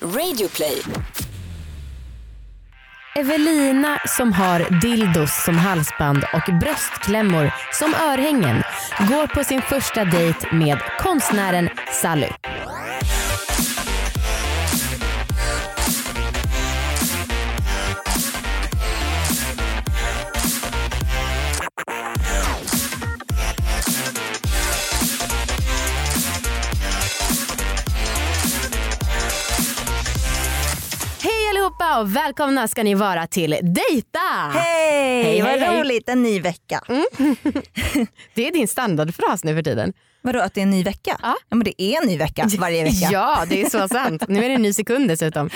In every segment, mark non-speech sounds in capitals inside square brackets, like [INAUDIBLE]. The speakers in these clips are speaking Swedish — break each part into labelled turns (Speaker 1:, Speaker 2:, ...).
Speaker 1: Radioplay.
Speaker 2: Ah. Evelina som har dildos som halsband och bröstklämmor som örhängen går på sin första dejt med konstnären Sally. Hej allihopa och välkomna ska ni vara till Dejta!
Speaker 3: Hej,
Speaker 2: Hej,
Speaker 3: vad
Speaker 2: hej, hej. Mm.
Speaker 3: roligt. En ny vecka.
Speaker 2: Det är din standardfras nu för tiden.
Speaker 3: Vadå att det är en ny vecka?
Speaker 2: Ja.
Speaker 3: men det är en ny vecka varje vecka.
Speaker 2: Ja, det är så sant. Nu är det en ny sekund dessutom.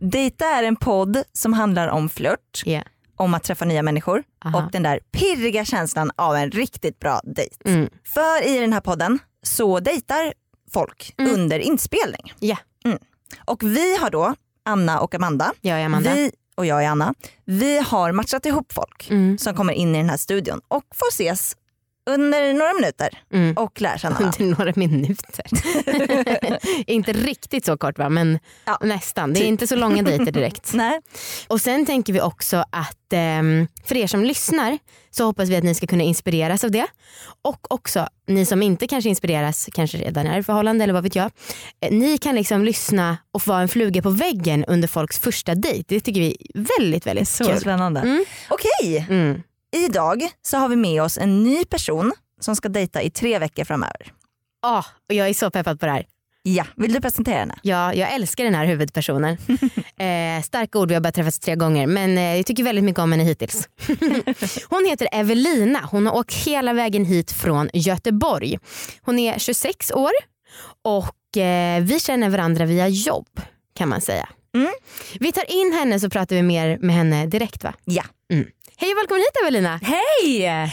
Speaker 3: Dejta är en podd som handlar om flört,
Speaker 2: Ja.
Speaker 3: om att träffa nya människor
Speaker 2: Aha.
Speaker 3: och den där pirriga känslan av en riktigt bra dejt.
Speaker 2: Mm.
Speaker 3: För i den här podden så dejtar folk
Speaker 2: Mm.
Speaker 3: under inspelning.
Speaker 2: Ja.
Speaker 3: Mm. Och vi har då, Anna och Amanda,
Speaker 2: Jag är Amanda.
Speaker 3: Vi, och jag är Anna, vi har matchat ihop folk
Speaker 2: Mm.
Speaker 3: som kommer in i den här studion och får ses under några minuter
Speaker 2: Mm.
Speaker 3: och lär
Speaker 2: [LAUGHS]
Speaker 3: känna varandra.
Speaker 2: Under några [LAUGHS] minuter. inte riktigt så kort va, men
Speaker 3: Ja,
Speaker 2: nästan. Det är
Speaker 3: typ.
Speaker 2: inte så långa dejter direkt.
Speaker 3: Nej.
Speaker 2: Och sen tänker vi också att ehm, för er som lyssnar så hoppas vi att ni ska kunna inspireras av det. Och också ni som inte kanske inspireras, kanske redan är i förhållande eller vad vet jag. Eh, ni kan liksom lyssna och vara en fluga på väggen under folks första dejt. Det tycker vi är väldigt, väldigt
Speaker 3: Så
Speaker 2: kul.
Speaker 3: spännande.
Speaker 2: Mm.
Speaker 3: Okej,
Speaker 2: Mm.
Speaker 3: idag så har vi med oss en ny person som ska dejta i tre veckor framöver.
Speaker 2: Ah, och jag är så peppad på det här.
Speaker 3: Ja, vill du presentera henne?
Speaker 2: Ja, jag älskar den
Speaker 3: [LAUGHS]
Speaker 2: här huvudpersonen. Eh, starka ord, vi har bara träffats tre gånger men eh, jag tycker väldigt mycket om
Speaker 3: [LAUGHS]
Speaker 2: henne hittills. hon heter Evelina, hon har åkt hela vägen hit från Göteborg. Hon är 26 år och eh, vi känner varandra via jobb kan man säga.
Speaker 3: Mm.
Speaker 2: Vi tar in henne så pratar vi mer med henne direkt va?
Speaker 3: Ja.
Speaker 2: Mm. Hej och välkommen hit Evelina!
Speaker 4: Hej!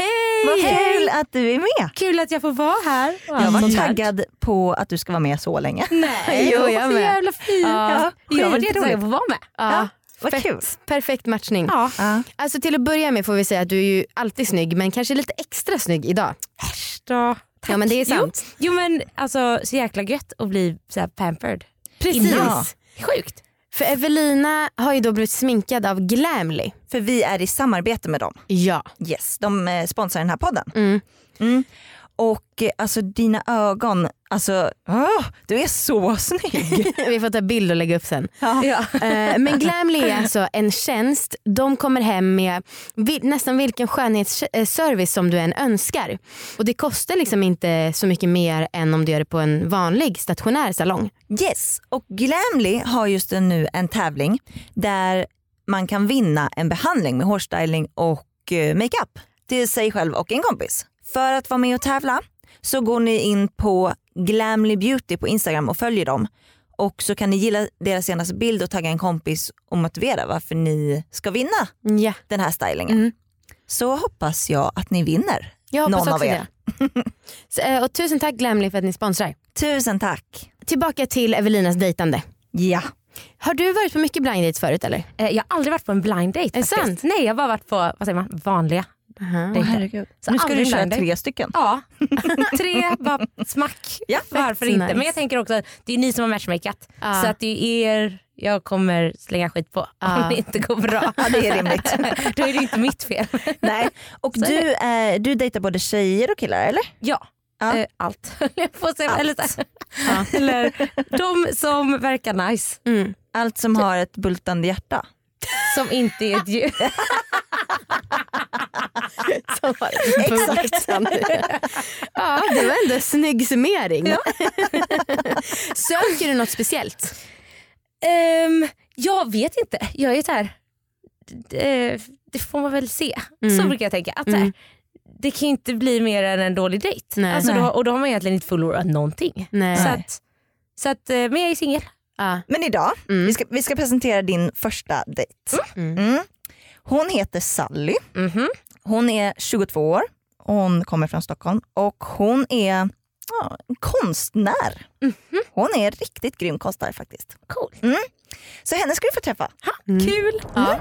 Speaker 3: Vad
Speaker 2: Hej!
Speaker 3: kul att du är med.
Speaker 4: Kul att jag får vara här. Mm.
Speaker 3: Jag var
Speaker 4: Sånt här.
Speaker 3: taggad på att du ska vara med så länge.
Speaker 4: Nej,
Speaker 2: Jo,
Speaker 4: jo,
Speaker 2: jag
Speaker 4: jag så
Speaker 2: med.
Speaker 4: jävla fint.
Speaker 2: Ja,
Speaker 4: jag var
Speaker 3: skitroligt.
Speaker 4: jättetaggad på att vara med.
Speaker 2: Ja,
Speaker 3: Vad
Speaker 2: fett.
Speaker 3: kul.
Speaker 2: Perfekt matchning.
Speaker 4: Ja.
Speaker 3: Ja.
Speaker 2: Alltså till att börja med får vi säga att du är ju alltid snygg men kanske lite extra snygg idag.
Speaker 4: Äsch då.
Speaker 2: Ja men det är
Speaker 4: Jo.
Speaker 2: sant.
Speaker 4: Jo men alltså så jäkla gött att bli så här pampered.
Speaker 2: Precis.
Speaker 3: Ja.
Speaker 4: Sjukt.
Speaker 2: För Evelina har ju då blivit sminkad av Glamly.
Speaker 3: För vi är i samarbete med dem.
Speaker 2: Ja.
Speaker 3: Yes, de eh, sponsrar den här podden.
Speaker 2: Mm. [LAUGHS]
Speaker 3: Mm. Och eh, alltså dina ögon, alltså åh, du är så [LAUGHS] snygg.
Speaker 2: Vi får ta bild och lägga upp sen.
Speaker 3: Ja.
Speaker 2: Eh, Men Glamly är alltså en tjänst. De kommer hem med vil- nästan vilken skönhetsservice som du än önskar. Och det kostar liksom inte så mycket mer än om du gör det på en vanlig stationär salong.
Speaker 3: Yes, och Glamly har just nu en tävling där man kan vinna en behandling med hårstyling och eh, makeup till sig själv och en kompis. För att vara med och tävla så går ni in på Glamly Beauty på Instagram och följer dem. Och så kan ni gilla deras senaste bild och tagga en kompis och motivera varför ni ska vinna
Speaker 2: Ja,
Speaker 3: den här stylingen.
Speaker 2: Mm.
Speaker 3: Så hoppas jag att ni vinner.
Speaker 2: jag hoppas
Speaker 3: Någon av
Speaker 2: också
Speaker 3: er.
Speaker 2: det. Så, eh, och tusen tack Glamly för att ni sponsrar.
Speaker 3: Tusen tack.
Speaker 2: Tillbaka till Evelinas dejtande.
Speaker 3: Ja.
Speaker 2: Har du varit på mycket blind dates förut eller?
Speaker 4: Eh, Jag har aldrig varit på en blind date
Speaker 2: det sant?
Speaker 4: faktiskt. Nej jag har bara varit på vad säger man, vanliga.
Speaker 2: uh
Speaker 4: dejter. Så
Speaker 3: Nu ska
Speaker 4: aldrig
Speaker 3: du köra
Speaker 4: blind date.
Speaker 3: tre stycken.
Speaker 4: Ja, [LAUGHS] tre bara smack.
Speaker 3: Ja,
Speaker 4: Varför
Speaker 2: nice.
Speaker 4: inte? Men jag tänker också att det är ni som har matchmakat.
Speaker 2: Ja.
Speaker 4: Så att det är er jag kommer slänga skit på
Speaker 2: Ja.
Speaker 4: om det inte går bra.
Speaker 3: Ja, det är [LAUGHS] rimligt.
Speaker 4: Då är det inte mitt fel.
Speaker 3: Nej. Och
Speaker 4: Så är
Speaker 3: du, eh, du dejtar både tjejer och killar eller?
Speaker 4: Ja,
Speaker 3: Ja.
Speaker 4: eh, allt [LAUGHS] höll jag på att säga.
Speaker 3: Allt.
Speaker 4: Eller, så- eller de som verkar nice,
Speaker 2: Mm.
Speaker 3: Allt som har ett bultande hjärta.
Speaker 4: som inte är ett djur.
Speaker 2: [LAUGHS] Exakt. [LAUGHS] ja, det var ändå en snygg summering. Söker du något speciellt?
Speaker 4: Ehm, jag vet inte, jag är så här, eh, det får man väl se.
Speaker 2: Mm.
Speaker 4: Så brukar jag tänka. Att så här,
Speaker 2: Mm.
Speaker 4: Det kan ju inte bli mer än en dålig dejt.
Speaker 2: Nej.
Speaker 4: Alltså
Speaker 3: Nej.
Speaker 4: då, och då har man egentligen inte förlorat någonting.
Speaker 2: [LAUGHS] Nej.
Speaker 4: Så att, så att, eh, men jag är singel.
Speaker 2: Ja.
Speaker 3: Men idag,
Speaker 2: Mm.
Speaker 3: vi, ska, vi ska presentera din första dejt.
Speaker 2: Mm.
Speaker 3: Mm. Mm-hmm. Hon heter Sally,
Speaker 4: Mhm.
Speaker 3: hon är 22 år, hon kommer från Stockholm och hon är ja, en konstnär. Hon är en riktigt grym konstnär faktiskt. Mm.
Speaker 4: Cool.
Speaker 3: Så henne ska du få träffa.
Speaker 4: Kul. Mm.
Speaker 2: Ja.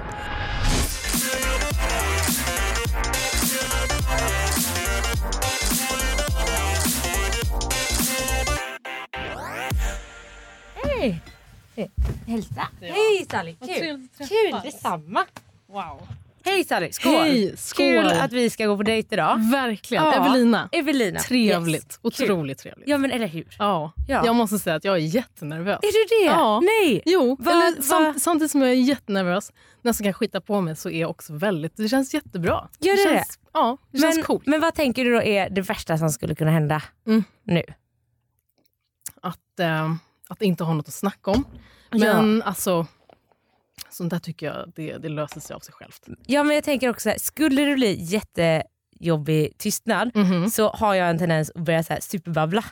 Speaker 5: Hälsa. Hej Sally, kul. Kul, detsamma.
Speaker 2: Wow.
Speaker 5: Hej Sally, skål.
Speaker 2: Hej, skål.
Speaker 5: Kul att vi ska gå på dejt idag.
Speaker 2: Verkligen.
Speaker 4: Ja.
Speaker 2: Evelina.
Speaker 4: Evelina.
Speaker 2: Trevligt.
Speaker 4: Yes.
Speaker 2: Otroligt trevligt.
Speaker 4: Ja men eller hur.
Speaker 2: Ja.
Speaker 4: Ja.
Speaker 2: Jag måste säga att jag är jättenervös.
Speaker 4: Är du det?
Speaker 2: Ja.
Speaker 4: Nej.
Speaker 2: Jo,
Speaker 4: Va-
Speaker 2: eller,
Speaker 4: va-
Speaker 2: Samt, samtidigt som jag är jättenervös, nästan kan skita på mig, så är jag också väldigt... Det känns jättebra.
Speaker 4: Gör det
Speaker 2: känns, Ja, det
Speaker 4: Men,
Speaker 2: känns coolt.
Speaker 4: men vad tänker du då är det värsta som skulle kunna hända
Speaker 2: Mm.
Speaker 4: nu?
Speaker 2: Att, eh, att inte ha något att snacka om. Men alltså, sånt där tycker jag det, det löser sig av sig självt.
Speaker 4: Ja men jag tänker också, så här, skulle det bli jättejobbig tystnad
Speaker 2: Mhm.
Speaker 4: så har jag en tendens att börja så här superbabbla.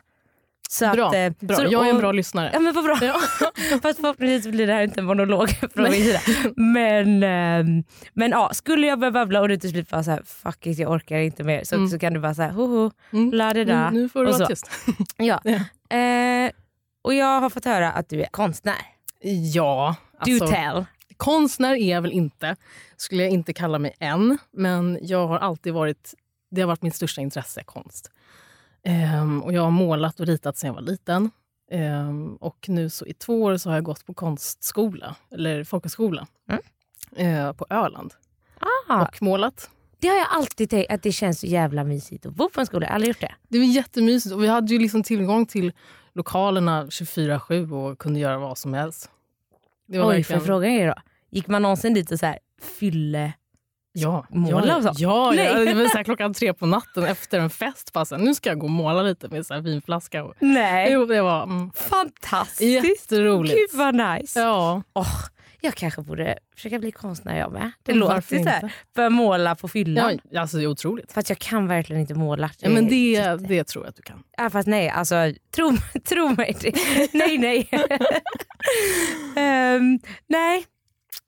Speaker 4: Så
Speaker 2: Bra,
Speaker 4: att, eh,
Speaker 2: bra.
Speaker 4: så-
Speaker 2: jag är en bra
Speaker 4: och- Ja
Speaker 2: lyssnare.
Speaker 4: men vad bra.
Speaker 2: Mm. Ja.
Speaker 4: [LAUGHS] Fast förhoppningsvis blir det här inte
Speaker 2: [LAUGHS]
Speaker 4: en monolog från min sida. Men, ehm, men ja, skulle jag börja babbla och du till slut bara såhär, fuck it jag orkar inte mer. Så,
Speaker 2: Mm.
Speaker 4: så kan du bara såhär, hoho,
Speaker 2: Mm.
Speaker 4: la det där.
Speaker 2: Nu, nu får du
Speaker 4: och
Speaker 2: vara
Speaker 4: så.
Speaker 2: tyst.
Speaker 4: Ja.
Speaker 2: Ja.
Speaker 4: Eh, och jag har fått höra att du är konstnär.
Speaker 2: Ja,
Speaker 4: Do
Speaker 2: alltså,
Speaker 4: tell.
Speaker 2: konstnär är jag väl inte. Skulle jag inte kalla mig än. Men jag har alltid varit, det har varit mitt största intresse, konst. Ehm, och jag har målat och ritat sedan jag var liten. Ehm, och nu så i två år så har jag gått på konstskola, eller folkhögskola,
Speaker 4: Mm.
Speaker 2: eh, på Öland.
Speaker 4: Ah.
Speaker 2: Och målat.
Speaker 4: Det har jag alltid tänkt att det känns så jävla mysigt att bo på en skola. Jag har aldrig gjort det.
Speaker 2: Det var jättemysigt och vi hade ju liksom tillgång till lokalerna 24-7 och kunde göra vad som helst. Det var
Speaker 4: Oj,
Speaker 2: verkligen-
Speaker 4: för frågan är då, gick man någonsin dit och såhär fylle...
Speaker 2: Ja,
Speaker 4: måla
Speaker 2: ja,
Speaker 4: och så?
Speaker 2: Ja,
Speaker 4: Nej.
Speaker 2: ja, det var så
Speaker 4: [LAUGHS]
Speaker 2: här klockan tre på natten efter en fest. Bara så här, nu ska jag gå och måla lite med så här vinflaska. Och...
Speaker 4: Nej.
Speaker 2: Jo, det var mm,
Speaker 4: Fantastiskt.
Speaker 2: jätteroligt.
Speaker 4: Gud vad nice.
Speaker 2: Ja,
Speaker 4: Åh, jag kanske borde försöka bli konstnär jag med. Det
Speaker 2: Mm,
Speaker 4: låter
Speaker 2: varför
Speaker 4: ju så här,
Speaker 2: inte?
Speaker 4: börja måla på fyllan.
Speaker 2: ja alltså det är otroligt.
Speaker 4: Fast jag kan verkligen inte måla.
Speaker 2: Ja, men det, det tror jag att du kan.
Speaker 4: Ja, fast nej, alltså tro, [LAUGHS] tro mig. det-
Speaker 2: [LAUGHS]
Speaker 4: nej, nej. Ehm, nej,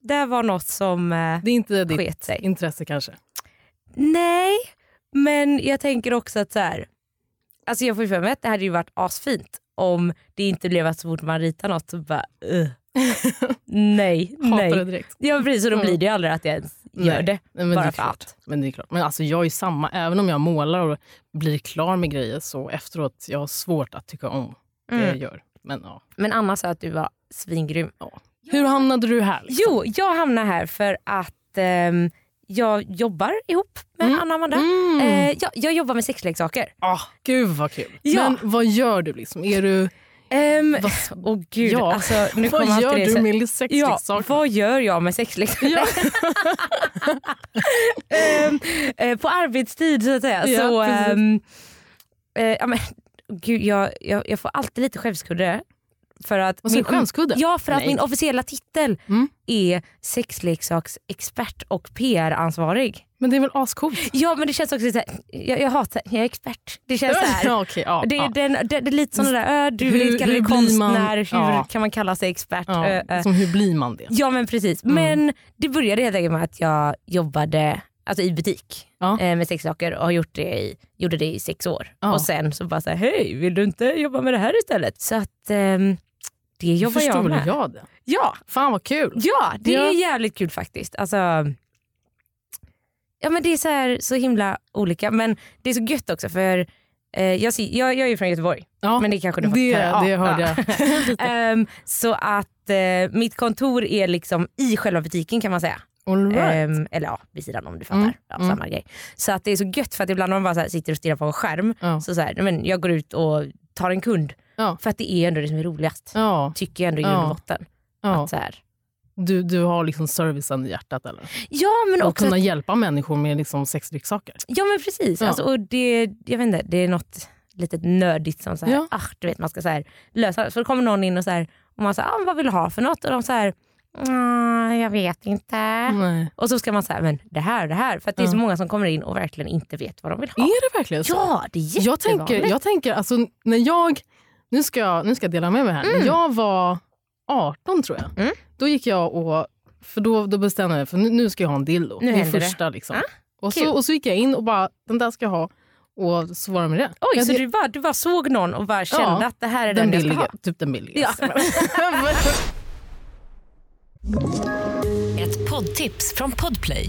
Speaker 4: det var något som uh,
Speaker 2: Det är inte ditt
Speaker 4: sket sig.
Speaker 2: intresse kanske.
Speaker 4: Nej, men jag tänker också att så här, alltså jag får ju för mig att det hade ju varit asfint om det inte blev att så fort man ritar något så bara [LAUGHS] eh. nej,
Speaker 2: Hatar det
Speaker 4: nej.
Speaker 2: direkt.
Speaker 4: Ja precis, och då blir det ju aldrig att jag ens gör
Speaker 2: Nej.
Speaker 4: Mm. det.
Speaker 2: Nej, men
Speaker 4: Bara
Speaker 2: det är
Speaker 4: för
Speaker 2: klart.
Speaker 4: att.
Speaker 2: Men det är klart. Men alltså jag är samma. Även om jag målar och blir klar med grejer så efteråt jag har svårt att tycka om det
Speaker 4: Mm.
Speaker 2: jag gör. Men ja.
Speaker 4: Men Anna sa att du var svingrym.
Speaker 2: Hur hamnade du här? liksom?
Speaker 4: Jo, jag hamnar här för att ehm, jag jobbar ihop med
Speaker 2: Mm.
Speaker 4: Anna och Amanda.
Speaker 2: Mm.
Speaker 4: Eh, jag, jag jobbar med sexleksaker.
Speaker 2: Ah, gud vad kul.
Speaker 4: Ja.
Speaker 2: Men vad gör du? liksom? Är du...
Speaker 4: Ehm,
Speaker 2: Vad,
Speaker 4: Åh gud,
Speaker 2: Ja.
Speaker 4: alltså, [LAUGHS] nu kommer
Speaker 2: vad
Speaker 4: alltid
Speaker 2: gör
Speaker 4: det
Speaker 2: du
Speaker 4: så-
Speaker 2: med sexleksaker?
Speaker 4: Ja, vad gör jag med sexleksaker?
Speaker 2: Ja.
Speaker 4: [LAUGHS] Ehm, eh, på arbetstid så att säga.
Speaker 2: Ja,
Speaker 4: så,
Speaker 2: precis.
Speaker 4: ehm, eh, ja, men, gud, jag, jag, jag får alltid lite skämskudde. För att
Speaker 2: Vad sa du, skämskudde?
Speaker 4: Ja, för att
Speaker 2: Nej.
Speaker 4: min officiella titel
Speaker 2: Mm.
Speaker 4: är sexleksaksexpert och PR-ansvarig.
Speaker 2: Men det är väl ascoolt?
Speaker 4: Ja men det känns också såhär, jag, jag hatar, jag är expert. Det känns såhär.
Speaker 2: Ja, okej, ja,
Speaker 4: Det är,
Speaker 2: ja.
Speaker 4: den, det, det är lite sådana där, ö, du vill
Speaker 2: Hur-
Speaker 4: inte kalla dig
Speaker 2: hur blir man-
Speaker 4: konstnär, hur
Speaker 2: Ja.
Speaker 4: kan man kalla sig expert? Ö, ö.
Speaker 2: Ja, som hur blir man det?
Speaker 4: Ja men precis.
Speaker 2: Mm.
Speaker 4: Men det började helt enkelt med att jag jobbade alltså, i butik
Speaker 2: Ja.
Speaker 4: eh, med sexsaker och har gjort det i, gjorde det i sex år.
Speaker 2: Ja.
Speaker 4: Och sen så bara så här, hej vill du inte jobba med det här istället? Så att ehm, det
Speaker 2: Hur
Speaker 4: jobbar jag
Speaker 2: förstod
Speaker 4: med.
Speaker 2: jag det?
Speaker 4: Ja,
Speaker 2: Fan vad kul.
Speaker 4: ja, det
Speaker 2: Ja.
Speaker 4: är jävligt kul faktiskt. Alltså, ja men det är så, här, så himla olika men det är så gött också för eh, jag, ser, jag, jag är ju från Göteborg
Speaker 2: Ja,
Speaker 4: men det kanske du har fått
Speaker 2: det,
Speaker 4: höra. Ja,
Speaker 2: det hörde
Speaker 4: ja.
Speaker 2: jag. Lite.
Speaker 4: Ehm, så att eh, mitt kontor är liksom i själva butiken kan man säga.
Speaker 2: All
Speaker 4: [LAUGHS]
Speaker 2: right.
Speaker 4: Ehm, eller ja, vid sidan om du fattar.
Speaker 2: Mm,
Speaker 4: Ja,
Speaker 2: mm.
Speaker 4: samma grej. Så att det är så gött för att ibland när man bara så här sitter och stirrar på en skärm
Speaker 2: Ja.
Speaker 4: så, så här, nej, men jag går ut och tar en kund.
Speaker 2: Ja.
Speaker 4: För att det är ändå det som är roligast.
Speaker 2: Ja,
Speaker 4: Tycker jag ändå i
Speaker 2: Ja.
Speaker 4: grund och botten.
Speaker 2: ja.
Speaker 4: Att så här.
Speaker 2: Du, du har liksom servicen i hjärtat eller?
Speaker 4: Ja men
Speaker 2: Och
Speaker 4: också,
Speaker 2: kunna hjälpa människor med liksom sexleksaker.
Speaker 4: ja men precis.
Speaker 2: Ja.
Speaker 4: Alltså, och det, jag vet inte, det är något litet nördigt som så här,
Speaker 2: Ja.
Speaker 4: ah, du vet, man ska så här, lösa. Så då kommer någon in och så här, och man säger ah, vad vill du ha för något? Och de så här, "Mm, jag vet inte.
Speaker 2: Nej.
Speaker 4: Och så ska man säga, men det här, det här. För att det är så
Speaker 2: Ja.
Speaker 4: många som kommer in och verkligen inte vet vad de vill ha. Alltså.
Speaker 2: Är det verkligen så?
Speaker 4: Ja, det är jättevanligt.
Speaker 2: jag tänker, jag tänker alltså, när jag, nu ska jag, nu ska jag dela med mig här. När jag var 18 tror jag,
Speaker 4: Mm.
Speaker 2: då gick jag och, för då, då bestämde jag mig för nu, nu ska jag ha en dildo.
Speaker 4: Nu
Speaker 2: Min
Speaker 4: händer det.
Speaker 2: första liksom.
Speaker 4: Ah,
Speaker 2: och,
Speaker 4: kul.
Speaker 2: så, och så gick jag in och bara, den där ska jag ha. Och så var det med det.
Speaker 4: Oj,
Speaker 2: jag,
Speaker 4: så du bara, du bara såg någon och bara kände
Speaker 2: Ja,
Speaker 4: att det här är den,
Speaker 2: den
Speaker 4: jag ska
Speaker 2: billiga,
Speaker 4: ha?
Speaker 2: typ den [LAUGHS] billiga.
Speaker 5: [LAUGHS]
Speaker 6: Ett poddtips från Podplay.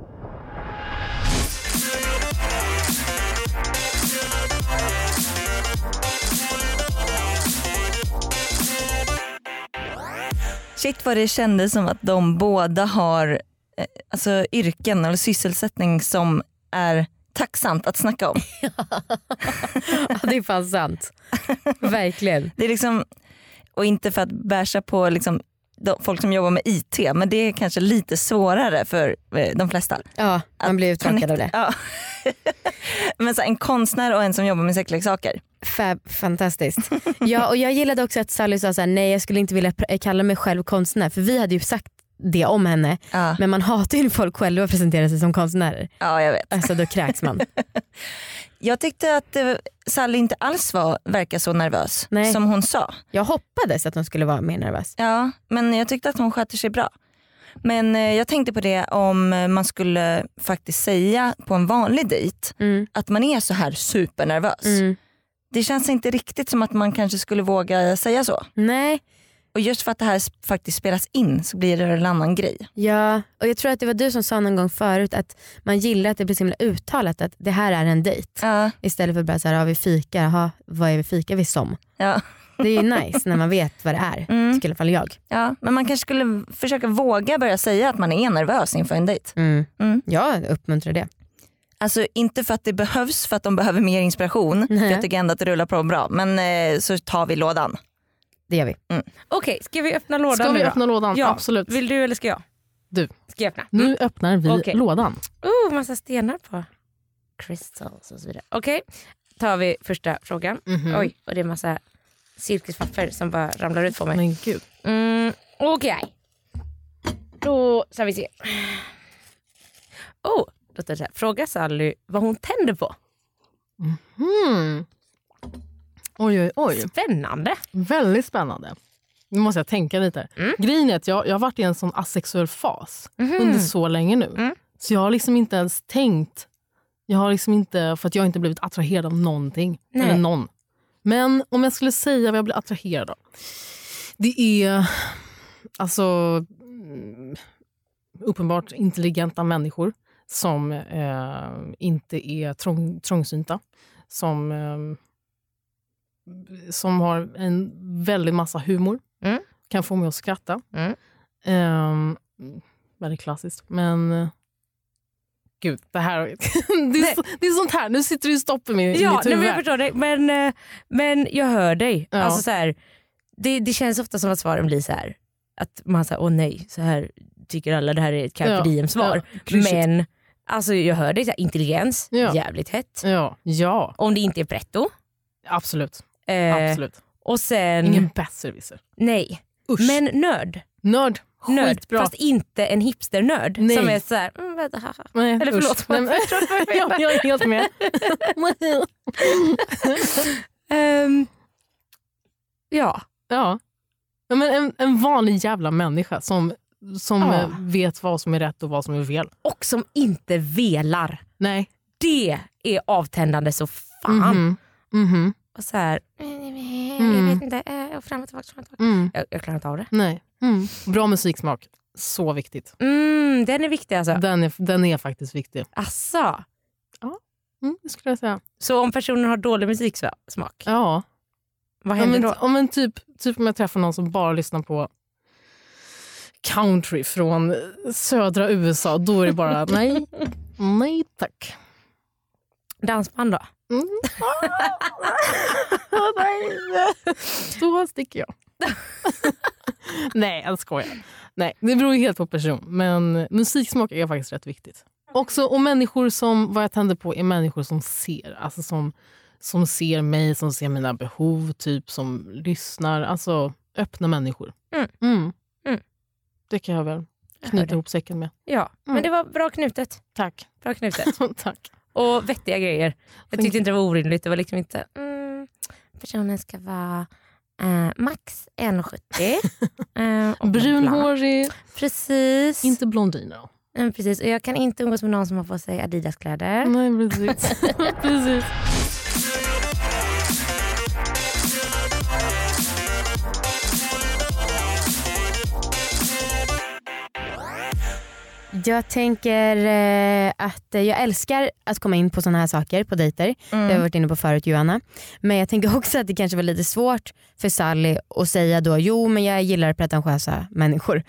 Speaker 3: Shit vad det kändes som att de båda har eh, alltså, yrken eller sysselsättning som är tacksamt att snacka om.
Speaker 4: det är fan [LAUGHS] sant. Verkligen.
Speaker 3: Det är liksom, och inte för att bärsa på liksom, de, folk som jobbar med IT men det är kanske lite svårare för eh, de flesta.
Speaker 5: Ja, man blir uttråkad av det.
Speaker 3: Ja. [LAUGHS] men så, här, en konstnär och en som jobbar med sexleksaker.
Speaker 5: Fab, fantastiskt.
Speaker 4: [LAUGHS]
Speaker 5: Ja, och jag gillade också att Sally sa så här, nej jag skulle inte vilja pr- kalla mig själv konstnär för vi hade ju sagt det om henne
Speaker 3: Ja.
Speaker 5: men man hatar ju när folk själva presenterar sig som konstnärer.
Speaker 3: ja, jag vet.
Speaker 5: Alltså då
Speaker 4: [LAUGHS]
Speaker 5: kräks man.
Speaker 3: Jag tyckte att eh, Sally inte alls var, verkar så nervös
Speaker 5: Nej.
Speaker 3: som hon sa.
Speaker 5: Jag hoppades att hon skulle vara mer nervös.
Speaker 3: Ja, men jag tyckte att hon sköter sig bra. Men eh, jag tänkte på det om eh, man skulle faktiskt säga på en vanlig dejt
Speaker 5: Mm.
Speaker 3: att man är så här supernervös.
Speaker 5: Mm.
Speaker 3: Det känns inte riktigt som att man kanske skulle våga säga så.
Speaker 5: Nej,
Speaker 3: Och just för att det här sp- faktiskt spelas in så blir det en annan grej.
Speaker 5: ja. Och jag tror att det var du som sa någon gång förut att man gillar att det blir så himla uttalat att det här är en dejt.
Speaker 3: Ja,
Speaker 5: Istället för bara så här, har vi fika? Jaha, vad är vi fika vi som?
Speaker 3: ja,
Speaker 5: Det är ju
Speaker 4: [LAUGHS]
Speaker 5: nice när man vet vad det är.
Speaker 3: Mm.
Speaker 5: Tycker i alla fall jag.
Speaker 3: ja. Men man kanske skulle försöka våga börja säga att man är nervös inför en dejt.
Speaker 5: Mm.
Speaker 3: Mm.
Speaker 5: Jag uppmuntrar det.
Speaker 3: Alltså inte för att det behövs för att de behöver mer inspiration.
Speaker 5: Nej.
Speaker 3: För jag tycker ändå att det rullar på bra. Men eh, så tar vi lådan.
Speaker 5: Det gör vi.
Speaker 4: Okej, ska vi öppna lådan
Speaker 2: Ska
Speaker 4: nu
Speaker 2: vi
Speaker 4: då?
Speaker 2: öppna lådan?
Speaker 4: Ja.
Speaker 2: Absolut.
Speaker 4: Vill du eller ska jag?
Speaker 2: Du.
Speaker 4: Ska jag öppna?
Speaker 2: Nu öppnar vi
Speaker 4: Okej.
Speaker 2: lådan.
Speaker 4: Oh, massa stenar på. Crystals och så vidare. Okej, tar vi första frågan.
Speaker 2: Mhm.
Speaker 4: Oj, och det är massa silkespapper som bara ramlar ut på mig.
Speaker 2: Men gud.
Speaker 4: Mm, Okej. Då ska vi se. Oh, då tar det så här. Fråga Sally vad hon tänder på.
Speaker 2: Mm. Oj, oj, oj.
Speaker 4: Spännande.
Speaker 2: Väldigt spännande. Nu måste jag tänka lite. Grejen är att jag, jag har varit i en sån asexuell fas under så länge nu. Så jag har liksom inte ens tänkt. Jag har liksom inte, för att jag har inte blivit attraherad av någonting.
Speaker 4: Nej.
Speaker 2: Eller någon. Men om jag skulle säga vad jag blir attraherad av. Det är alltså mm, uppenbart intelligenta människor som eh, inte är trång, trångsynta. Som eh, som har en väldig massa humor.
Speaker 4: Mm.
Speaker 2: Kan få mig att skratta.
Speaker 4: Mm.
Speaker 2: Ehm, väldigt klassiskt. Men eh, gud, det här... [LAUGHS] det, är så, det är sånt här. Nu sitter det i stopp i, min, i
Speaker 4: Ja,
Speaker 2: mitt
Speaker 4: nej, men
Speaker 2: huvud.
Speaker 4: jag förstår dig. Men, eh, men jag hör dig.
Speaker 2: Ja.
Speaker 4: Alltså, så här, det, det känns ofta som att svaren blir så här. Att man säger åh nej, så här tycker alla det här är ett carpe
Speaker 2: Ja,
Speaker 4: diem svar.
Speaker 2: ja, klyschigt.
Speaker 4: men alltså, jag hör dig, så här, intelligens,
Speaker 2: Ja.
Speaker 4: jävligt hett.
Speaker 2: Ja, ja,
Speaker 4: Om det inte är pretto.
Speaker 2: absolut.
Speaker 4: Eh,
Speaker 2: absolut.
Speaker 4: Och sen,
Speaker 2: Ingen besserwisser.
Speaker 4: nej.
Speaker 2: Usch.
Speaker 4: Men nörd.
Speaker 2: Nörd.
Speaker 4: nörd
Speaker 2: Skitbra.
Speaker 4: fast inte en hipsternörd
Speaker 2: Nej.
Speaker 4: som är såhär, mm, vänta, haha.
Speaker 2: Nej,
Speaker 4: eller
Speaker 2: usch.
Speaker 4: förlåt.
Speaker 2: Nej, men, [LAUGHS] jag, jag är helt
Speaker 4: [LAUGHS]
Speaker 2: med.
Speaker 4: Ehm, ja,
Speaker 2: ja. Ja, Men en, en vanlig jävla människa som, som
Speaker 4: Ja.
Speaker 2: eh, vet vad som är rätt och vad som är fel.
Speaker 4: och som inte velar.
Speaker 2: Nej.
Speaker 4: Det är avtändande så fan.
Speaker 2: Mhm. Mhm.
Speaker 4: Och så här,
Speaker 2: Mm.
Speaker 4: jag vet inte, eh, och fram och tillbaka, fram och tillbaka.
Speaker 2: Mm.
Speaker 4: Jag, jag klarar inte av det.
Speaker 2: Nej. Mm. Bra musiksmak. Så viktigt.
Speaker 4: Mm, den är viktig alltså.
Speaker 2: Den är, den är faktiskt viktig.
Speaker 4: Asså.
Speaker 2: Mm, det skulle jag säga.
Speaker 4: Så om personen har dålig musiksmak,
Speaker 2: Ja.
Speaker 4: vad
Speaker 2: Om
Speaker 4: händer
Speaker 2: en,
Speaker 4: då?
Speaker 2: om en typ, typ om jag träffar någon som bara lyssnar på country från södra USA, då är det bara nej, nej tack.
Speaker 4: Dansband då? [LAUGHS]
Speaker 2: Då sticker
Speaker 4: [LAUGHS]
Speaker 2: jag. Nej, jag skojar. Nej, det beror ju helt på person. Men musiksmak är faktiskt rätt viktigt. Också, och människor som, vad jag tänder på är människor som ser. Alltså som, som ser mig, som ser mina behov, typ som lyssnar. Alltså öppna människor.
Speaker 4: Mm. Mm.
Speaker 2: Det kan jag väl
Speaker 4: hör det.
Speaker 2: knyta ihop säcken med.
Speaker 4: Ja, men
Speaker 2: Mm.
Speaker 4: det var bra knutet.
Speaker 2: Tack.
Speaker 4: Bra
Speaker 2: [LAUGHS]
Speaker 4: knutet.
Speaker 2: Tack.
Speaker 4: och vettiga grejer. Jag
Speaker 2: Tänk-
Speaker 4: tyckte inte det var orimligt. Det var liksom inte mm, personen ska vara Eh, max [LAUGHS] 1,70. eh, och bla.
Speaker 2: Brunhårig,
Speaker 4: Precis.
Speaker 2: inte blondin. Då.
Speaker 4: Mm, precis. Och jag kan inte umgås med någon som har på sig Adidas-kläder.
Speaker 2: Nej, precis. [LAUGHS] precis.
Speaker 5: Jag tänker eh, att eh, jag älskar att komma in på sådana här saker på dejter. Det
Speaker 3: Mm.
Speaker 5: har vi varit inne på förut Johanna. Men jag tänker också att det kanske var lite svårt för Sally att säga då jo men jag gillar pretentiösa
Speaker 3: [LAUGHS]
Speaker 5: människor.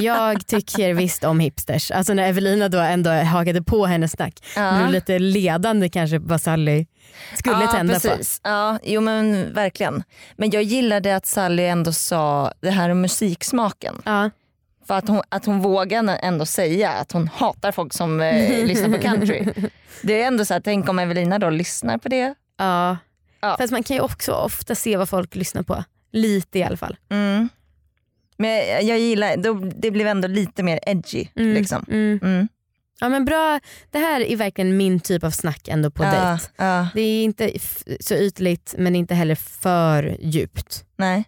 Speaker 5: Jag tycker visst om hipsters. Alltså när Evelina då ändå hakade på hennes snack. Det blev lite ledande kanske vad Sally skulle
Speaker 3: ja,
Speaker 5: tända på.
Speaker 3: precis. Ja, jo men verkligen. Men jag gillade att Sally ändå sa det här om musiksmaken.
Speaker 5: Ja.
Speaker 3: För att hon, att hon vågade ändå säga att hon hatar folk som eh, lyssnar på country.
Speaker 5: [LAUGHS]
Speaker 3: Det är ändå så här, tänk om Evelina då lyssnar på det.
Speaker 5: Ja.
Speaker 3: Ja.
Speaker 5: Fast man kan ju också ofta se vad folk lyssnar på. Lite i alla fall.
Speaker 3: Mm. Men jag, jag gillar, då, det blev ändå lite mer edgy.
Speaker 5: Mm.
Speaker 3: Liksom.
Speaker 5: Mm.
Speaker 3: Mm.
Speaker 5: Ja, men bra. Det här är verkligen min typ av snack ändå på
Speaker 3: ja,
Speaker 5: dejt.
Speaker 3: ja,
Speaker 5: Det är inte f- så ytligt men inte heller för djupt.
Speaker 3: nej.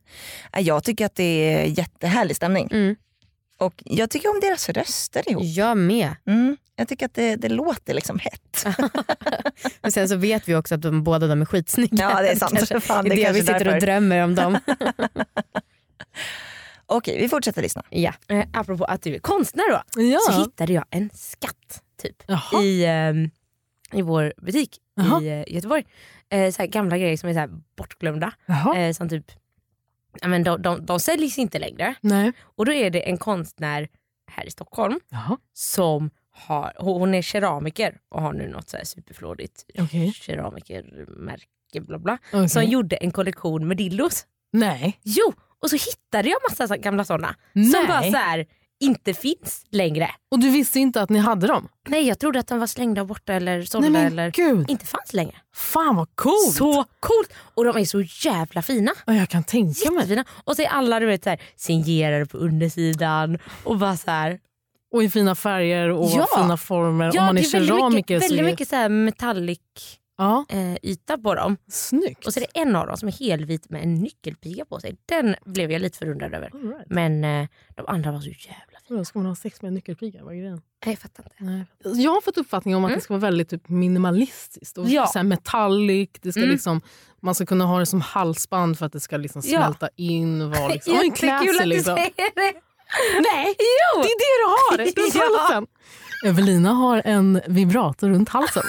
Speaker 3: Ja, Jag tycker att det är jättehärlig stämning.
Speaker 5: Mm.
Speaker 3: Och jag tycker om deras röster ihop.
Speaker 5: Jag med.
Speaker 3: Mm. Jag tycker att det, det låter liksom hett.
Speaker 5: Men sen så vet vi också att de, båda de är skitsnygga.
Speaker 3: Ja det är sant.
Speaker 5: Kanske,
Speaker 3: Fan,
Speaker 5: det är
Speaker 3: det
Speaker 5: det vi
Speaker 3: kanske
Speaker 5: sitter och
Speaker 3: därför.
Speaker 5: drömmer om dem.
Speaker 3: [LAUGHS] Okej vi fortsätter lyssna.
Speaker 5: ja.
Speaker 4: Eh, apropå att du är konstnär då, så
Speaker 2: Ja.
Speaker 4: hittade jag en skatt typ
Speaker 2: Jaha.
Speaker 4: i, ehm, i vår butik
Speaker 2: Jaha.
Speaker 4: i eh, Göteborg. Eh, så här gamla grejer som är så här bortglömda.
Speaker 2: Jaha.
Speaker 4: Eh, som typ, ja, men de, de, de säljs inte längre.
Speaker 2: Nej.
Speaker 4: Och då är det en konstnär här i Stockholm
Speaker 2: Jaha.
Speaker 4: som har, hon hon är keramiker och har nu något så här superflådigt
Speaker 2: Okej.
Speaker 4: keramikermärke bla bla. Som
Speaker 2: Okej.
Speaker 4: gjorde en kollektion med dildos.
Speaker 2: Nej.
Speaker 4: Jo, och så hittade jag massa så- gamla sådana som
Speaker 2: Nej.
Speaker 4: bara så här, inte finns längre.
Speaker 2: Och du visste inte att ni hade dem?
Speaker 4: Nej, jag trodde att de var slängda borta eller sålda
Speaker 2: Nej men
Speaker 4: eller
Speaker 2: gud.
Speaker 4: inte fanns längre.
Speaker 2: Fan vad coolt.
Speaker 4: Så coolt! Och de är så jävla fina.
Speaker 2: Ja, jag kan tänka mig.
Speaker 4: Jättefina. Och så är alla du vet, så här, signerade på undersidan och bara så här.
Speaker 2: Och i fina färger och
Speaker 4: Ja.
Speaker 2: fina former.
Speaker 4: Ja,
Speaker 2: Om man är,
Speaker 4: det är väldigt
Speaker 2: keramiker
Speaker 4: mycket,
Speaker 2: så
Speaker 4: väldigt
Speaker 2: är
Speaker 4: mycket så här metallic
Speaker 2: Ja,
Speaker 4: eh, yta på dem.
Speaker 2: snyggt.
Speaker 4: Och så är det en av dem som är helvit med en nyckelpiga på sig. Den blev jag lite förundrad över.
Speaker 2: All right.
Speaker 4: Men eh, de andra var så jävla fina.
Speaker 2: Då ska man ha sex med en nyckelpiga? Vad är grejen?
Speaker 4: Nej, jag fattar inte.
Speaker 2: Nej. Jag har fått uppfattningen om att det ska vara väldigt typ, minimalistiskt och
Speaker 4: Ja.
Speaker 2: så här metallic. Det ska
Speaker 4: Mm.
Speaker 2: liksom, man ska kunna ha det som halsband för att det ska liksom
Speaker 4: Ja.
Speaker 2: smälta in. Var,
Speaker 4: [LAUGHS]
Speaker 2: liksom. och en
Speaker 4: Jättekul
Speaker 2: classy,
Speaker 4: att du
Speaker 2: liksom.
Speaker 4: säger [LAUGHS] det.
Speaker 2: Nej, det är det du har! [LAUGHS] Runt
Speaker 4: [LAUGHS] Ja.
Speaker 2: halsen. Evelina har en vibrator runt
Speaker 4: [LAUGHS]
Speaker 2: halsen.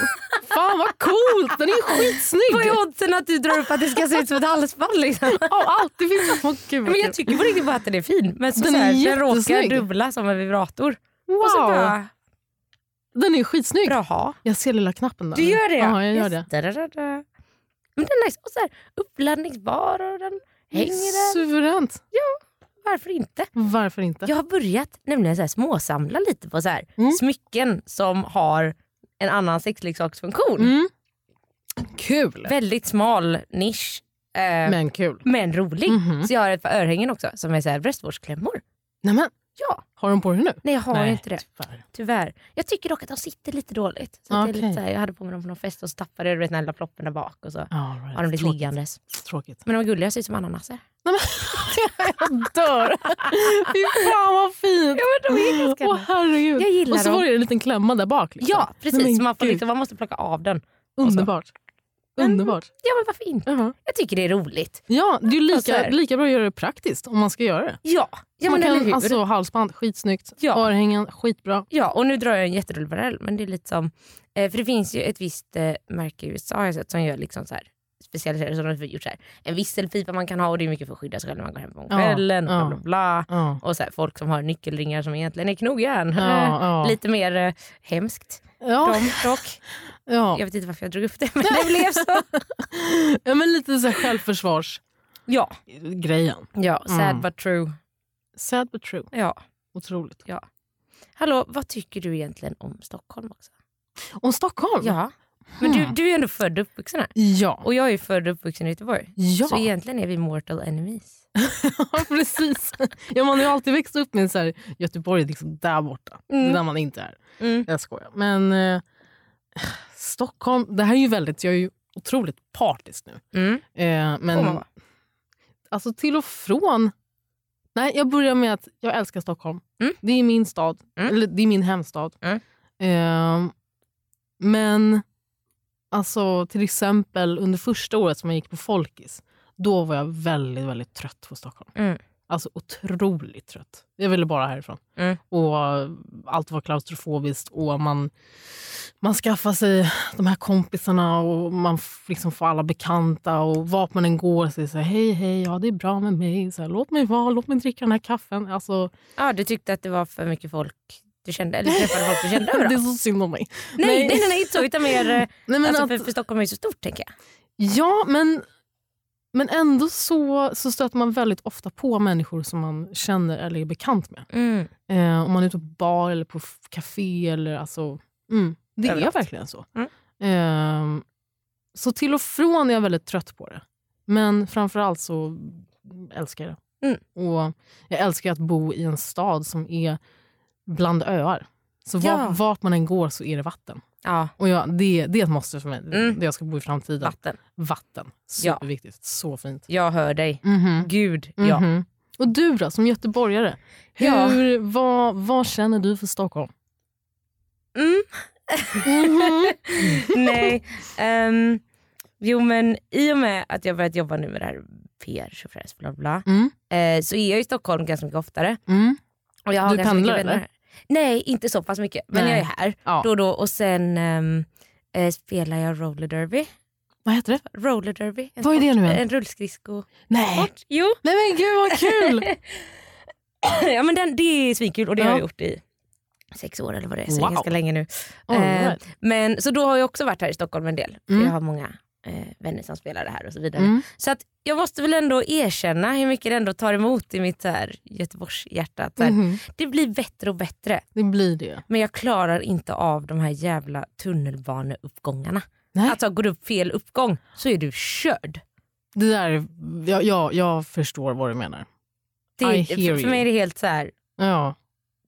Speaker 2: Fan vad coolt! Den är
Speaker 4: Vad
Speaker 2: skitsnygg!
Speaker 4: är oddsen att du drar upp att det ska se ut som ett halsband?
Speaker 2: [LAUGHS]
Speaker 4: Liksom?
Speaker 2: Av allt, det finns så kul.
Speaker 4: Men jag tycker på riktigt bara att den är fin. Men så
Speaker 2: Den
Speaker 4: så här,
Speaker 2: är
Speaker 4: den råkar
Speaker 2: jättesnygg.
Speaker 4: dubbla som en vibrator. Och så
Speaker 2: Wow!
Speaker 4: bara,
Speaker 2: Den är skitsnygg.
Speaker 4: bra ha.
Speaker 2: Jag ser lilla knappen där.
Speaker 4: Du gör det?
Speaker 2: Ja, jag gör det.
Speaker 4: Da, da, da, da. Men den är nice. Och så här, uppladdningsbar och den hänger där.
Speaker 2: Suveränt.
Speaker 4: Varför inte?
Speaker 2: Varför inte?
Speaker 4: Jag har börjat nämligen så här, småsamla lite på så här,
Speaker 2: Mm.
Speaker 4: smycken som har en annan sexleksaksfunktion.
Speaker 2: Mm. Kul,
Speaker 4: Väldigt smal nisch. eh, men.
Speaker 2: men kul.
Speaker 4: rolig.
Speaker 2: Mhm.
Speaker 4: Så jag har ett par örhängen också som är så här bröstvårdsklämmor.
Speaker 2: Nämen,
Speaker 4: Ja.
Speaker 2: har de på dig nu?
Speaker 4: Nej jag har
Speaker 2: Nej,
Speaker 4: inte det.
Speaker 2: tyvärr.
Speaker 4: Tyvärr. Jag tycker dock att de sitter lite dåligt. Så att det är
Speaker 2: Okej.
Speaker 4: lite så här, jag hade på mig dem på någon fest och så tappade jag du vet, den här lilla ploppen där bak och så
Speaker 2: All right.
Speaker 4: har de blivit
Speaker 2: Tråkigt.
Speaker 4: liggandes.
Speaker 2: Tråkigt.
Speaker 4: Men de är gulliga, ser ut som ananaser.
Speaker 2: Jag dör. [LAUGHS] Fy fan vad fint.
Speaker 4: men de är ganska
Speaker 2: Åh herregud.
Speaker 4: Jag gillar
Speaker 2: Och så
Speaker 4: dem.
Speaker 2: var det en liten klämma där bak. Liksom.
Speaker 4: Ja precis,
Speaker 2: Nej, men
Speaker 4: man, får
Speaker 2: gud.
Speaker 4: liksom, man måste plocka av den. och så.
Speaker 2: Underbart. Underbart.
Speaker 4: Ja men varför inte?
Speaker 2: Jaha.
Speaker 4: Jag tycker det är roligt.
Speaker 2: Ja, det är ju
Speaker 4: Alltså här.
Speaker 2: lika, lika bra att göra det praktiskt om man ska göra det.
Speaker 4: Ja, ja
Speaker 2: man
Speaker 4: men eller
Speaker 2: kan,
Speaker 4: hur?
Speaker 2: alltså, halsband, skitsnyggt.
Speaker 4: Ja.
Speaker 2: Örhängen, skitbra.
Speaker 4: Ja och nu drar jag en jätterolig parallell men det är lite som, eh, för det finns ju ett visst eh, märke i USA har jag sett, som gör liksom så här specialiserade, som de har gjort så här, en visselpipa man kan ha och det är mycket för att skydda sig själv när man går hem på
Speaker 2: Ja,
Speaker 4: kvällen och
Speaker 2: ja.
Speaker 4: bla bla bla.
Speaker 2: Ja.
Speaker 4: Och så här, folk som har nyckelringar som egentligen är knogjärn.
Speaker 2: Ja, ja.
Speaker 4: Äh, [LAUGHS] Lite mer eh, hemskt.
Speaker 2: Ja,
Speaker 4: De dock.
Speaker 2: ja.
Speaker 4: Jag vet inte varför jag drog upp det men det blev så.
Speaker 2: [LAUGHS] ja men lite så här självförsvarsgrejen.
Speaker 4: Ja, ja sad
Speaker 2: Mm.
Speaker 4: but true.
Speaker 2: Sad but true.
Speaker 4: Ja.
Speaker 2: Otroligt.
Speaker 4: Hallå, vad tycker du egentligen om Stockholm också?
Speaker 2: Om Stockholm?
Speaker 4: Ja. Mm. Men du, du är ändå född och uppvuxen här.
Speaker 2: Ja.
Speaker 4: Och jag är ju född och uppvuxen i Göteborg.
Speaker 2: ja.
Speaker 4: Så egentligen är vi mortal enemies.
Speaker 2: [LAUGHS] Ja, precis. Ja, man har ju alltid växt upp med så här, Göteborg är liksom där borta,
Speaker 4: Mm.
Speaker 2: där man inte är.
Speaker 4: Mm.
Speaker 2: Jag skojar. Men eh, Stockholm, det här är ju väldigt, jag är ju otroligt partisk nu.
Speaker 4: Mm.
Speaker 2: Eh, men
Speaker 4: Får man vara.
Speaker 2: Alltså till och från. Nej, jag börjar med att jag älskar Stockholm.
Speaker 4: Mm.
Speaker 2: Det är min stad.
Speaker 4: Mm.
Speaker 2: Eller det är min hemstad.
Speaker 4: Mm.
Speaker 2: Ehm, men alltså till exempel under första året som jag gick på Folkis, då var jag väldigt, väldigt trött på Stockholm.
Speaker 4: Mm.
Speaker 2: Alltså otroligt trött. Jag ville bara härifrån.
Speaker 4: Mm.
Speaker 2: Och allt var klaustrofobiskt och man, man skaffar sig de här kompisarna och man f- liksom får alla bekanta och vart man än går så är det så här, hej hej, ja det är bra med mig, så här, låt mig vara, låt mig dricka den här kaffen. Alltså,
Speaker 4: Ja, du tyckte att det var för mycket folk du kände, eller träffade folk du [LAUGHS] kände
Speaker 2: det är
Speaker 4: överallt?
Speaker 2: så synd om mig.
Speaker 4: Nej,
Speaker 2: Nej.
Speaker 4: nej, nej, nej, inte så. Utan [LAUGHS] mer, eh,
Speaker 2: Nej, men
Speaker 4: alltså,
Speaker 2: att,
Speaker 4: för, för Stockholm är ju så stort tänker jag.
Speaker 2: Ja, men, men ändå så, så stöter man väldigt ofta på människor som man känner eller är bekant med.
Speaker 4: Mm.
Speaker 2: Eh, om man är ute på bar eller på f- café. Eller, alltså, mm, det
Speaker 4: Överallt.
Speaker 2: är verkligen så.
Speaker 4: Mm.
Speaker 2: Eh, så till och från är jag väldigt trött på det. Men framförallt så älskar jag det.
Speaker 4: Mm.
Speaker 2: Och jag älskar att bo i en stad som är bland öar. Så var,
Speaker 4: Ja.
Speaker 2: vart man än går så är det vatten.
Speaker 4: Ja,
Speaker 2: Och jag, det, det är ett måste för mig,
Speaker 4: Mm.
Speaker 2: där jag ska bo i framtiden.
Speaker 4: vatten.
Speaker 2: Vatten. Superviktigt. Så fint.
Speaker 4: Jag hör dig.
Speaker 2: Mhm.
Speaker 4: Gud, ja.
Speaker 2: Mhm. Och du då, som göteborgare?
Speaker 4: Ja.
Speaker 2: Hur, vad, vad känner du för Stockholm?
Speaker 4: Mm.
Speaker 2: Mhm.
Speaker 4: Nej. ehm, jo men i och med att jag börjat jobba nu med det här PR, tjofräs, bla bla.
Speaker 2: Mm.
Speaker 4: Eh, så är jag i Stockholm ganska mycket oftare.
Speaker 2: Mm.
Speaker 4: Och jag har
Speaker 2: Du
Speaker 4: ganska
Speaker 2: pendlar,
Speaker 4: mycket vänner
Speaker 2: eller?
Speaker 4: här. Nej inte så pass mycket men
Speaker 2: Nej.
Speaker 4: jag är här
Speaker 2: Ja.
Speaker 4: då och då och sen ehm, eh, spelar jag roller derby.
Speaker 2: Vad heter det?
Speaker 4: Roller derby. En,
Speaker 2: Vad är det nu
Speaker 4: sport-
Speaker 2: än?
Speaker 4: en rullskridsko.
Speaker 2: Nej.
Speaker 4: Sport.
Speaker 2: [LAUGHS]
Speaker 4: Jo
Speaker 2: Nej men gud vad
Speaker 4: [LAUGHS] Eh,
Speaker 2: kul!
Speaker 4: ja, men den, det är svinkul och det har jag
Speaker 2: Ja.
Speaker 4: gjort i sex år eller vad det är. Så det är
Speaker 2: Wow.
Speaker 4: ganska länge nu.
Speaker 2: All
Speaker 4: Eh,
Speaker 2: right.
Speaker 4: Men, så då har jag också varit här i Stockholm en del. För
Speaker 2: Mm.
Speaker 4: Jag har många eh, vänner som spelar det här och så vidare.
Speaker 2: Mm.
Speaker 4: Så att jag måste väl ändå erkänna hur mycket det ändå tar emot i mitt så här Göteborgshjärta. att så här,
Speaker 2: Mhm.
Speaker 4: Det blir bättre och bättre
Speaker 2: Det blir det.
Speaker 4: men jag klarar inte av de här jävla tunnelbaneuppgångarna.
Speaker 2: Nej.
Speaker 4: Alltså går du upp fel uppgång så är du körd.
Speaker 2: det där, är- jag, jag, jag förstår vad du menar.
Speaker 4: Det,
Speaker 2: I
Speaker 4: för,
Speaker 2: hear
Speaker 4: för mig är
Speaker 2: you.
Speaker 4: det helt så här.
Speaker 2: Ja.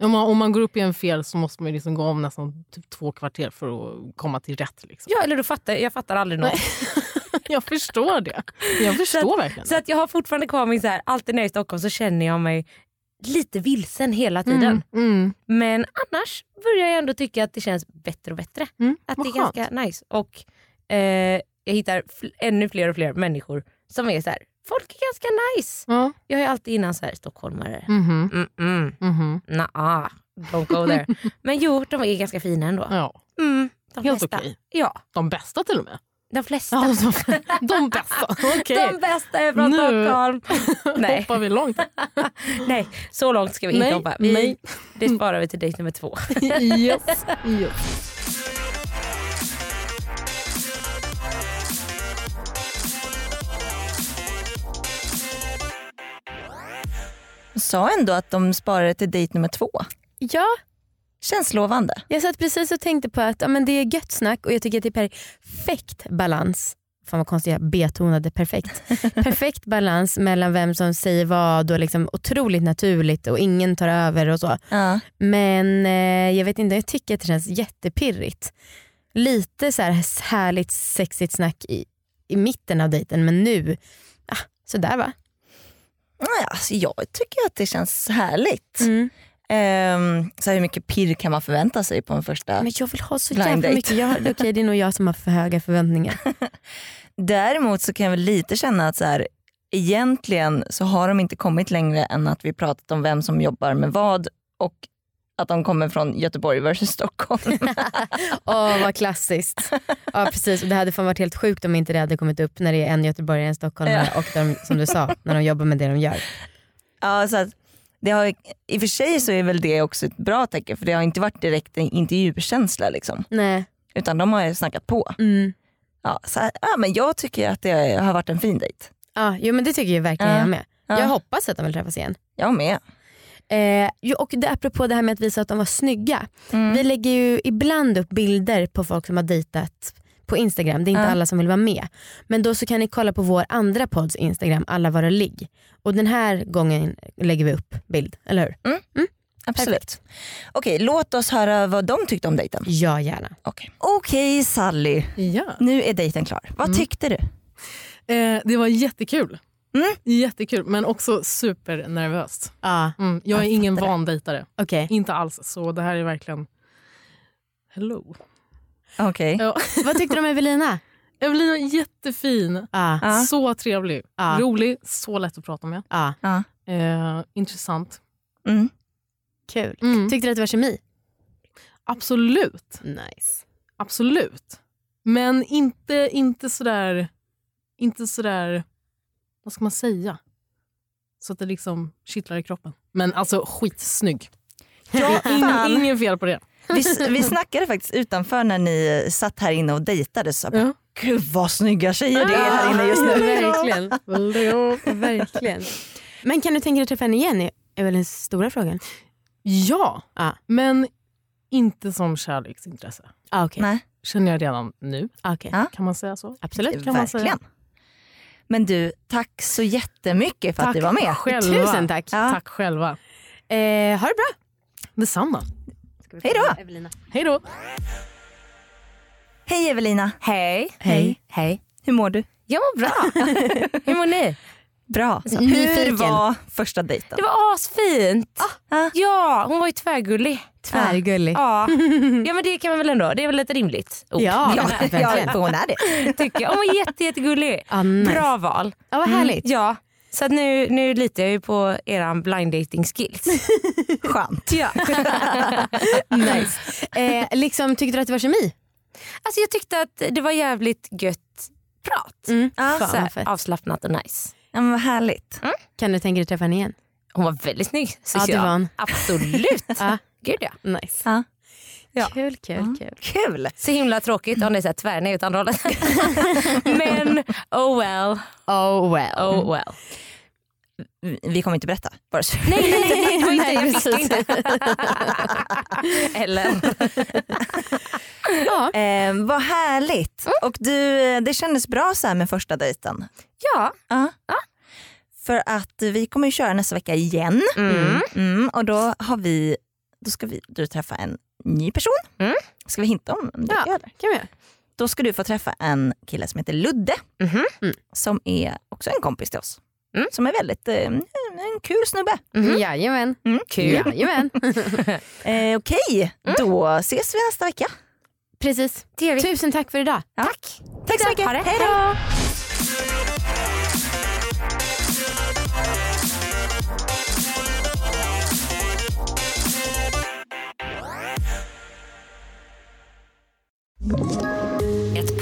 Speaker 2: Om, man, om man går upp i en fel så måste man ju liksom gå om nästan typ två kvarter för att komma till rätt. Liksom.
Speaker 4: ja eller du fattar, jag fattar aldrig något.
Speaker 2: [LAUGHS] Jag förstår det. Jag förstår verkligen
Speaker 4: Så
Speaker 2: det.
Speaker 4: att jag har fortfarande kvar min så här, alltid när jag är i Stockholm så känner jag mig lite vilsen hela tiden.
Speaker 2: Mm. Mm.
Speaker 4: Men annars börjar jag ändå tycka att det känns bättre och bättre.
Speaker 2: Mm.
Speaker 4: Att
Speaker 2: Vad
Speaker 4: det är
Speaker 2: skönt.
Speaker 4: ganska nice. Och eh, jag hittar fl- ännu fler och fler människor som är så här, folk är ganska nice.
Speaker 2: Ja.
Speaker 4: Jag är alltid innan så här, stockholmare.
Speaker 2: Mhm.
Speaker 4: Mm -mm.
Speaker 2: Mhm.
Speaker 4: Nah, don't
Speaker 2: [LAUGHS]
Speaker 4: go there. Men jo, de är ganska fina ändå.
Speaker 2: Ja,
Speaker 4: Mm, de
Speaker 2: helt
Speaker 4: flesta.
Speaker 2: okej.
Speaker 4: Ja,
Speaker 2: De bästa till och med.
Speaker 4: de flesta.
Speaker 2: Ja, de, [LAUGHS] de bästa. Okej,
Speaker 4: De bästa är från
Speaker 2: Nu- [LAUGHS]
Speaker 4: Stockholm.
Speaker 2: okay.
Speaker 4: Nej,
Speaker 2: hoppar vi långt.
Speaker 4: nej, så långt ska vi inte
Speaker 2: Nej,
Speaker 4: hoppa. Vi,
Speaker 2: nej.
Speaker 4: Det sparar vi till dejt nummer två.
Speaker 2: Yes. yes.
Speaker 3: Sa ändå att de sparar det till dejt nummer två.
Speaker 5: Ja,
Speaker 3: Känns lovande.
Speaker 5: jag satt precis och tänkte på att ja, men det är gött snack och jag tycker att det är perfekt balans. Fan vad konstigt jag betonade perfekt. [LAUGHS] perfekt balans mellan vem som säger vad och liksom otroligt naturligt och ingen tar över och så.
Speaker 3: Ja.
Speaker 5: Men eh, jag vet inte, jag tycker att det känns jättepirrigt. Lite så här härligt sexigt snack i, i mitten av dejten men nu, ah, sådär va.
Speaker 3: Nej, Alltså, jag tycker att det känns härligt.
Speaker 5: Mm.
Speaker 3: Ehm, så här, hur mycket pirr kan man förvänta sig på en första?
Speaker 5: Men jag vill ha så
Speaker 3: Blind
Speaker 5: jävla
Speaker 3: date.
Speaker 5: mycket. Jag, Okej det är nog jag som har för höga förväntningar.
Speaker 3: Däremot så kan jag väl lite känna att så här, egentligen så har de inte kommit längre än att vi pratat om vem som jobbar med vad och att de kommer från Göteborg versus Stockholm.
Speaker 5: [LAUGHS] Åh vad klassiskt. Ja precis och det hade fan varit helt sjukt om inte det hade kommit upp när det är en göteborgare, en stockholmare och de, som du sa, när de jobbar med det de gör.
Speaker 3: ja, så att det har, I och för sig så är väl det också ett bra tecken för det har inte varit direkt en intervjukänsla liksom,
Speaker 5: Nej.
Speaker 3: utan de har ju snackat på.
Speaker 5: Mm.
Speaker 3: Ja, så här, ja, men jag tycker att det har varit en fin dejt.
Speaker 5: Ja, jo men det tycker jag verkligen
Speaker 3: Ja.
Speaker 5: jag med.
Speaker 3: Ja.
Speaker 5: Jag hoppas att de vill träffas igen.
Speaker 3: Jag med.
Speaker 5: Eh, jo, och det, apropå det här med att visa att de var snygga.
Speaker 3: Mm.
Speaker 5: Vi lägger ju ibland upp bilder på folk som har dejtat på Instagram. Det är inte
Speaker 3: Ja.
Speaker 5: alla som vill vara med. Men då så kan ni kolla på vår andra pods Instagram, alla våra ligg. Och den här gången lägger vi upp bild, eller hur?
Speaker 3: Absolut. Okej, låt oss höra vad de tyckte om dejten.
Speaker 5: Ja gärna.
Speaker 3: Okej, Sally.
Speaker 2: Ja.
Speaker 3: Nu är dejten klar. Vad
Speaker 2: Mm.
Speaker 3: tyckte du?
Speaker 2: Eh, det var jättekul. Jättekul, men också supernervöst.
Speaker 5: Ja,
Speaker 2: Mm, jag är
Speaker 5: Jag
Speaker 2: ingen
Speaker 5: fattar det.
Speaker 2: vandejtare.
Speaker 5: okej.
Speaker 2: Inte alls. Så det här är verkligen... Hello.
Speaker 3: Okej.
Speaker 2: Ja.
Speaker 5: Vad tyckte du om Evelina?
Speaker 2: Evelina är Ah. jättefin.
Speaker 5: Ja,
Speaker 3: Ja.
Speaker 2: Så trevlig.
Speaker 5: Ja.
Speaker 2: Rolig. Så lätt att prata med.
Speaker 5: ja.
Speaker 2: Eh, intressant.
Speaker 3: Mm.
Speaker 5: Kul.
Speaker 2: Mm.
Speaker 5: Tyckte du att det var kemi?
Speaker 2: Absolut.
Speaker 5: Nice.
Speaker 2: Absolut. Men inte, inte sådär... Inte sådär... Vad ska man säga? Så att det liksom kittlar i kroppen. Men alltså skitsnygg.
Speaker 3: Ja,
Speaker 2: Ingen,
Speaker 3: fan.
Speaker 2: ingen fel på det.
Speaker 3: Vi, vi snackade faktiskt utanför när ni satt här inne och dejtade. Så jag bara,
Speaker 2: Ja.
Speaker 3: Gud vad snygga tjejer det är här inne just nu.
Speaker 4: Verkligen. Verkligen.
Speaker 5: Men kan du tänka dig att träffa henne igen? är- är väl den stora frågan.
Speaker 2: Ja,
Speaker 5: Ja.
Speaker 2: men inte som kärleksintresse.
Speaker 5: Ah, okej.
Speaker 3: Nej.
Speaker 2: Känner jag redan nu.
Speaker 5: Ah, okej.
Speaker 3: Ja.
Speaker 2: Kan man säga så?
Speaker 5: Absolut.
Speaker 2: kan man säga.
Speaker 3: Verkligen. Men du, tack så jättemycket för att
Speaker 2: Tack
Speaker 3: du var med.
Speaker 2: Själva.
Speaker 5: Tusen tack. Ah.
Speaker 3: Ja.
Speaker 2: Tack själva.
Speaker 5: Eh, ha det bra.
Speaker 2: Detsamma.
Speaker 3: Hej då!
Speaker 5: Evelina.
Speaker 2: Hej då.
Speaker 3: Hej Evelina!
Speaker 4: Hej.
Speaker 3: Hej. Hej. Hur mår du?
Speaker 4: Jag mår bra. [LAUGHS] Hur mår ni?
Speaker 3: Bra. Hur
Speaker 5: nyfiken.
Speaker 3: var första dejten?
Speaker 4: Det var asfint.
Speaker 3: ah.
Speaker 4: Ja, hon var ju tvärgullig.
Speaker 5: Tvärgullig. [LAUGHS]
Speaker 4: Ja. ja, men det kan man väl ändå. Det är väl ett rimligt ord.
Speaker 5: Ja,
Speaker 3: Ja,
Speaker 5: verkligen.
Speaker 3: ja, för hon är det.
Speaker 4: Tycker jag. Hon var jätte, jättegullig.
Speaker 5: Ah, nice.
Speaker 4: Bra val. Mm.
Speaker 5: Ja, vad härligt.
Speaker 4: Ja. Så att nu, nu litar jag ju på eran blind dating
Speaker 5: [LAUGHS]
Speaker 4: skills.
Speaker 3: Skönt. [LAUGHS]
Speaker 4: ja.
Speaker 5: Nice. Eh, liksom, tyckte du att det var kemi?
Speaker 4: Alltså jag tyckte att det var jävligt gött prat.
Speaker 5: Mm.
Speaker 3: Ja.
Speaker 4: Så
Speaker 5: Fan, vad
Speaker 4: här,
Speaker 5: fett.
Speaker 4: avslappnat och nice.
Speaker 3: Ja, men vad härligt.
Speaker 5: Kan du tänka dig att träffa henne igen?
Speaker 4: Hon var väldigt snygg tycker
Speaker 5: Ja, det var
Speaker 4: jag.
Speaker 5: hon.
Speaker 4: Absolut.
Speaker 5: [LAUGHS] Ja.
Speaker 4: Gud ja.
Speaker 5: Nice.
Speaker 3: Ja.
Speaker 4: Ja.
Speaker 5: Kul, kul, kul.
Speaker 3: Kul!
Speaker 4: Så himla tråkigt om det är så här tvärnej åt andra hållet.
Speaker 5: [LAUGHS]
Speaker 4: Men oh well,
Speaker 5: Oh well.
Speaker 4: oh
Speaker 5: [LAUGHS]
Speaker 4: well. [LAUGHS]
Speaker 3: Vi kommer inte berätta. Bara så-
Speaker 4: Nej, nej, nej, nej, det var inte,
Speaker 5: Nej,
Speaker 4: jag
Speaker 5: precis.
Speaker 4: fick inte. [LAUGHS] Eller?
Speaker 5: Ja.
Speaker 3: Eh, vad härligt.
Speaker 4: Mm.
Speaker 3: Och du, eh, det kändes bra så här med första dejten.
Speaker 4: Ja.
Speaker 3: Ja. För att vi kommer ju köra nästa vecka igen.
Speaker 4: Mm.
Speaker 3: Mm, och då, har vi, då ska vi, du träffa en ny person.
Speaker 4: Mm.
Speaker 3: Ska vi hinta om det?
Speaker 5: Ja.
Speaker 3: eller?
Speaker 5: Kan vi göra.
Speaker 3: Då ska du få träffa en kille som heter Ludde.
Speaker 4: Mhm.
Speaker 5: Mm.
Speaker 3: Som är också en kompis till oss.
Speaker 4: Mm.
Speaker 3: Som är väldigt eh, en en kul snubbe.
Speaker 4: Mhm.
Speaker 5: Jajamän.
Speaker 3: Mm.
Speaker 4: Kul.
Speaker 2: [LAUGHS]
Speaker 5: Jajamän.
Speaker 3: Eh, Okej,
Speaker 4: Mm.
Speaker 3: då ses vi nästa vecka.
Speaker 5: Precis. Tusen tack för idag.
Speaker 3: Tack. Tack så mycket.
Speaker 4: Ha det.
Speaker 3: Hej då.
Speaker 6: Ett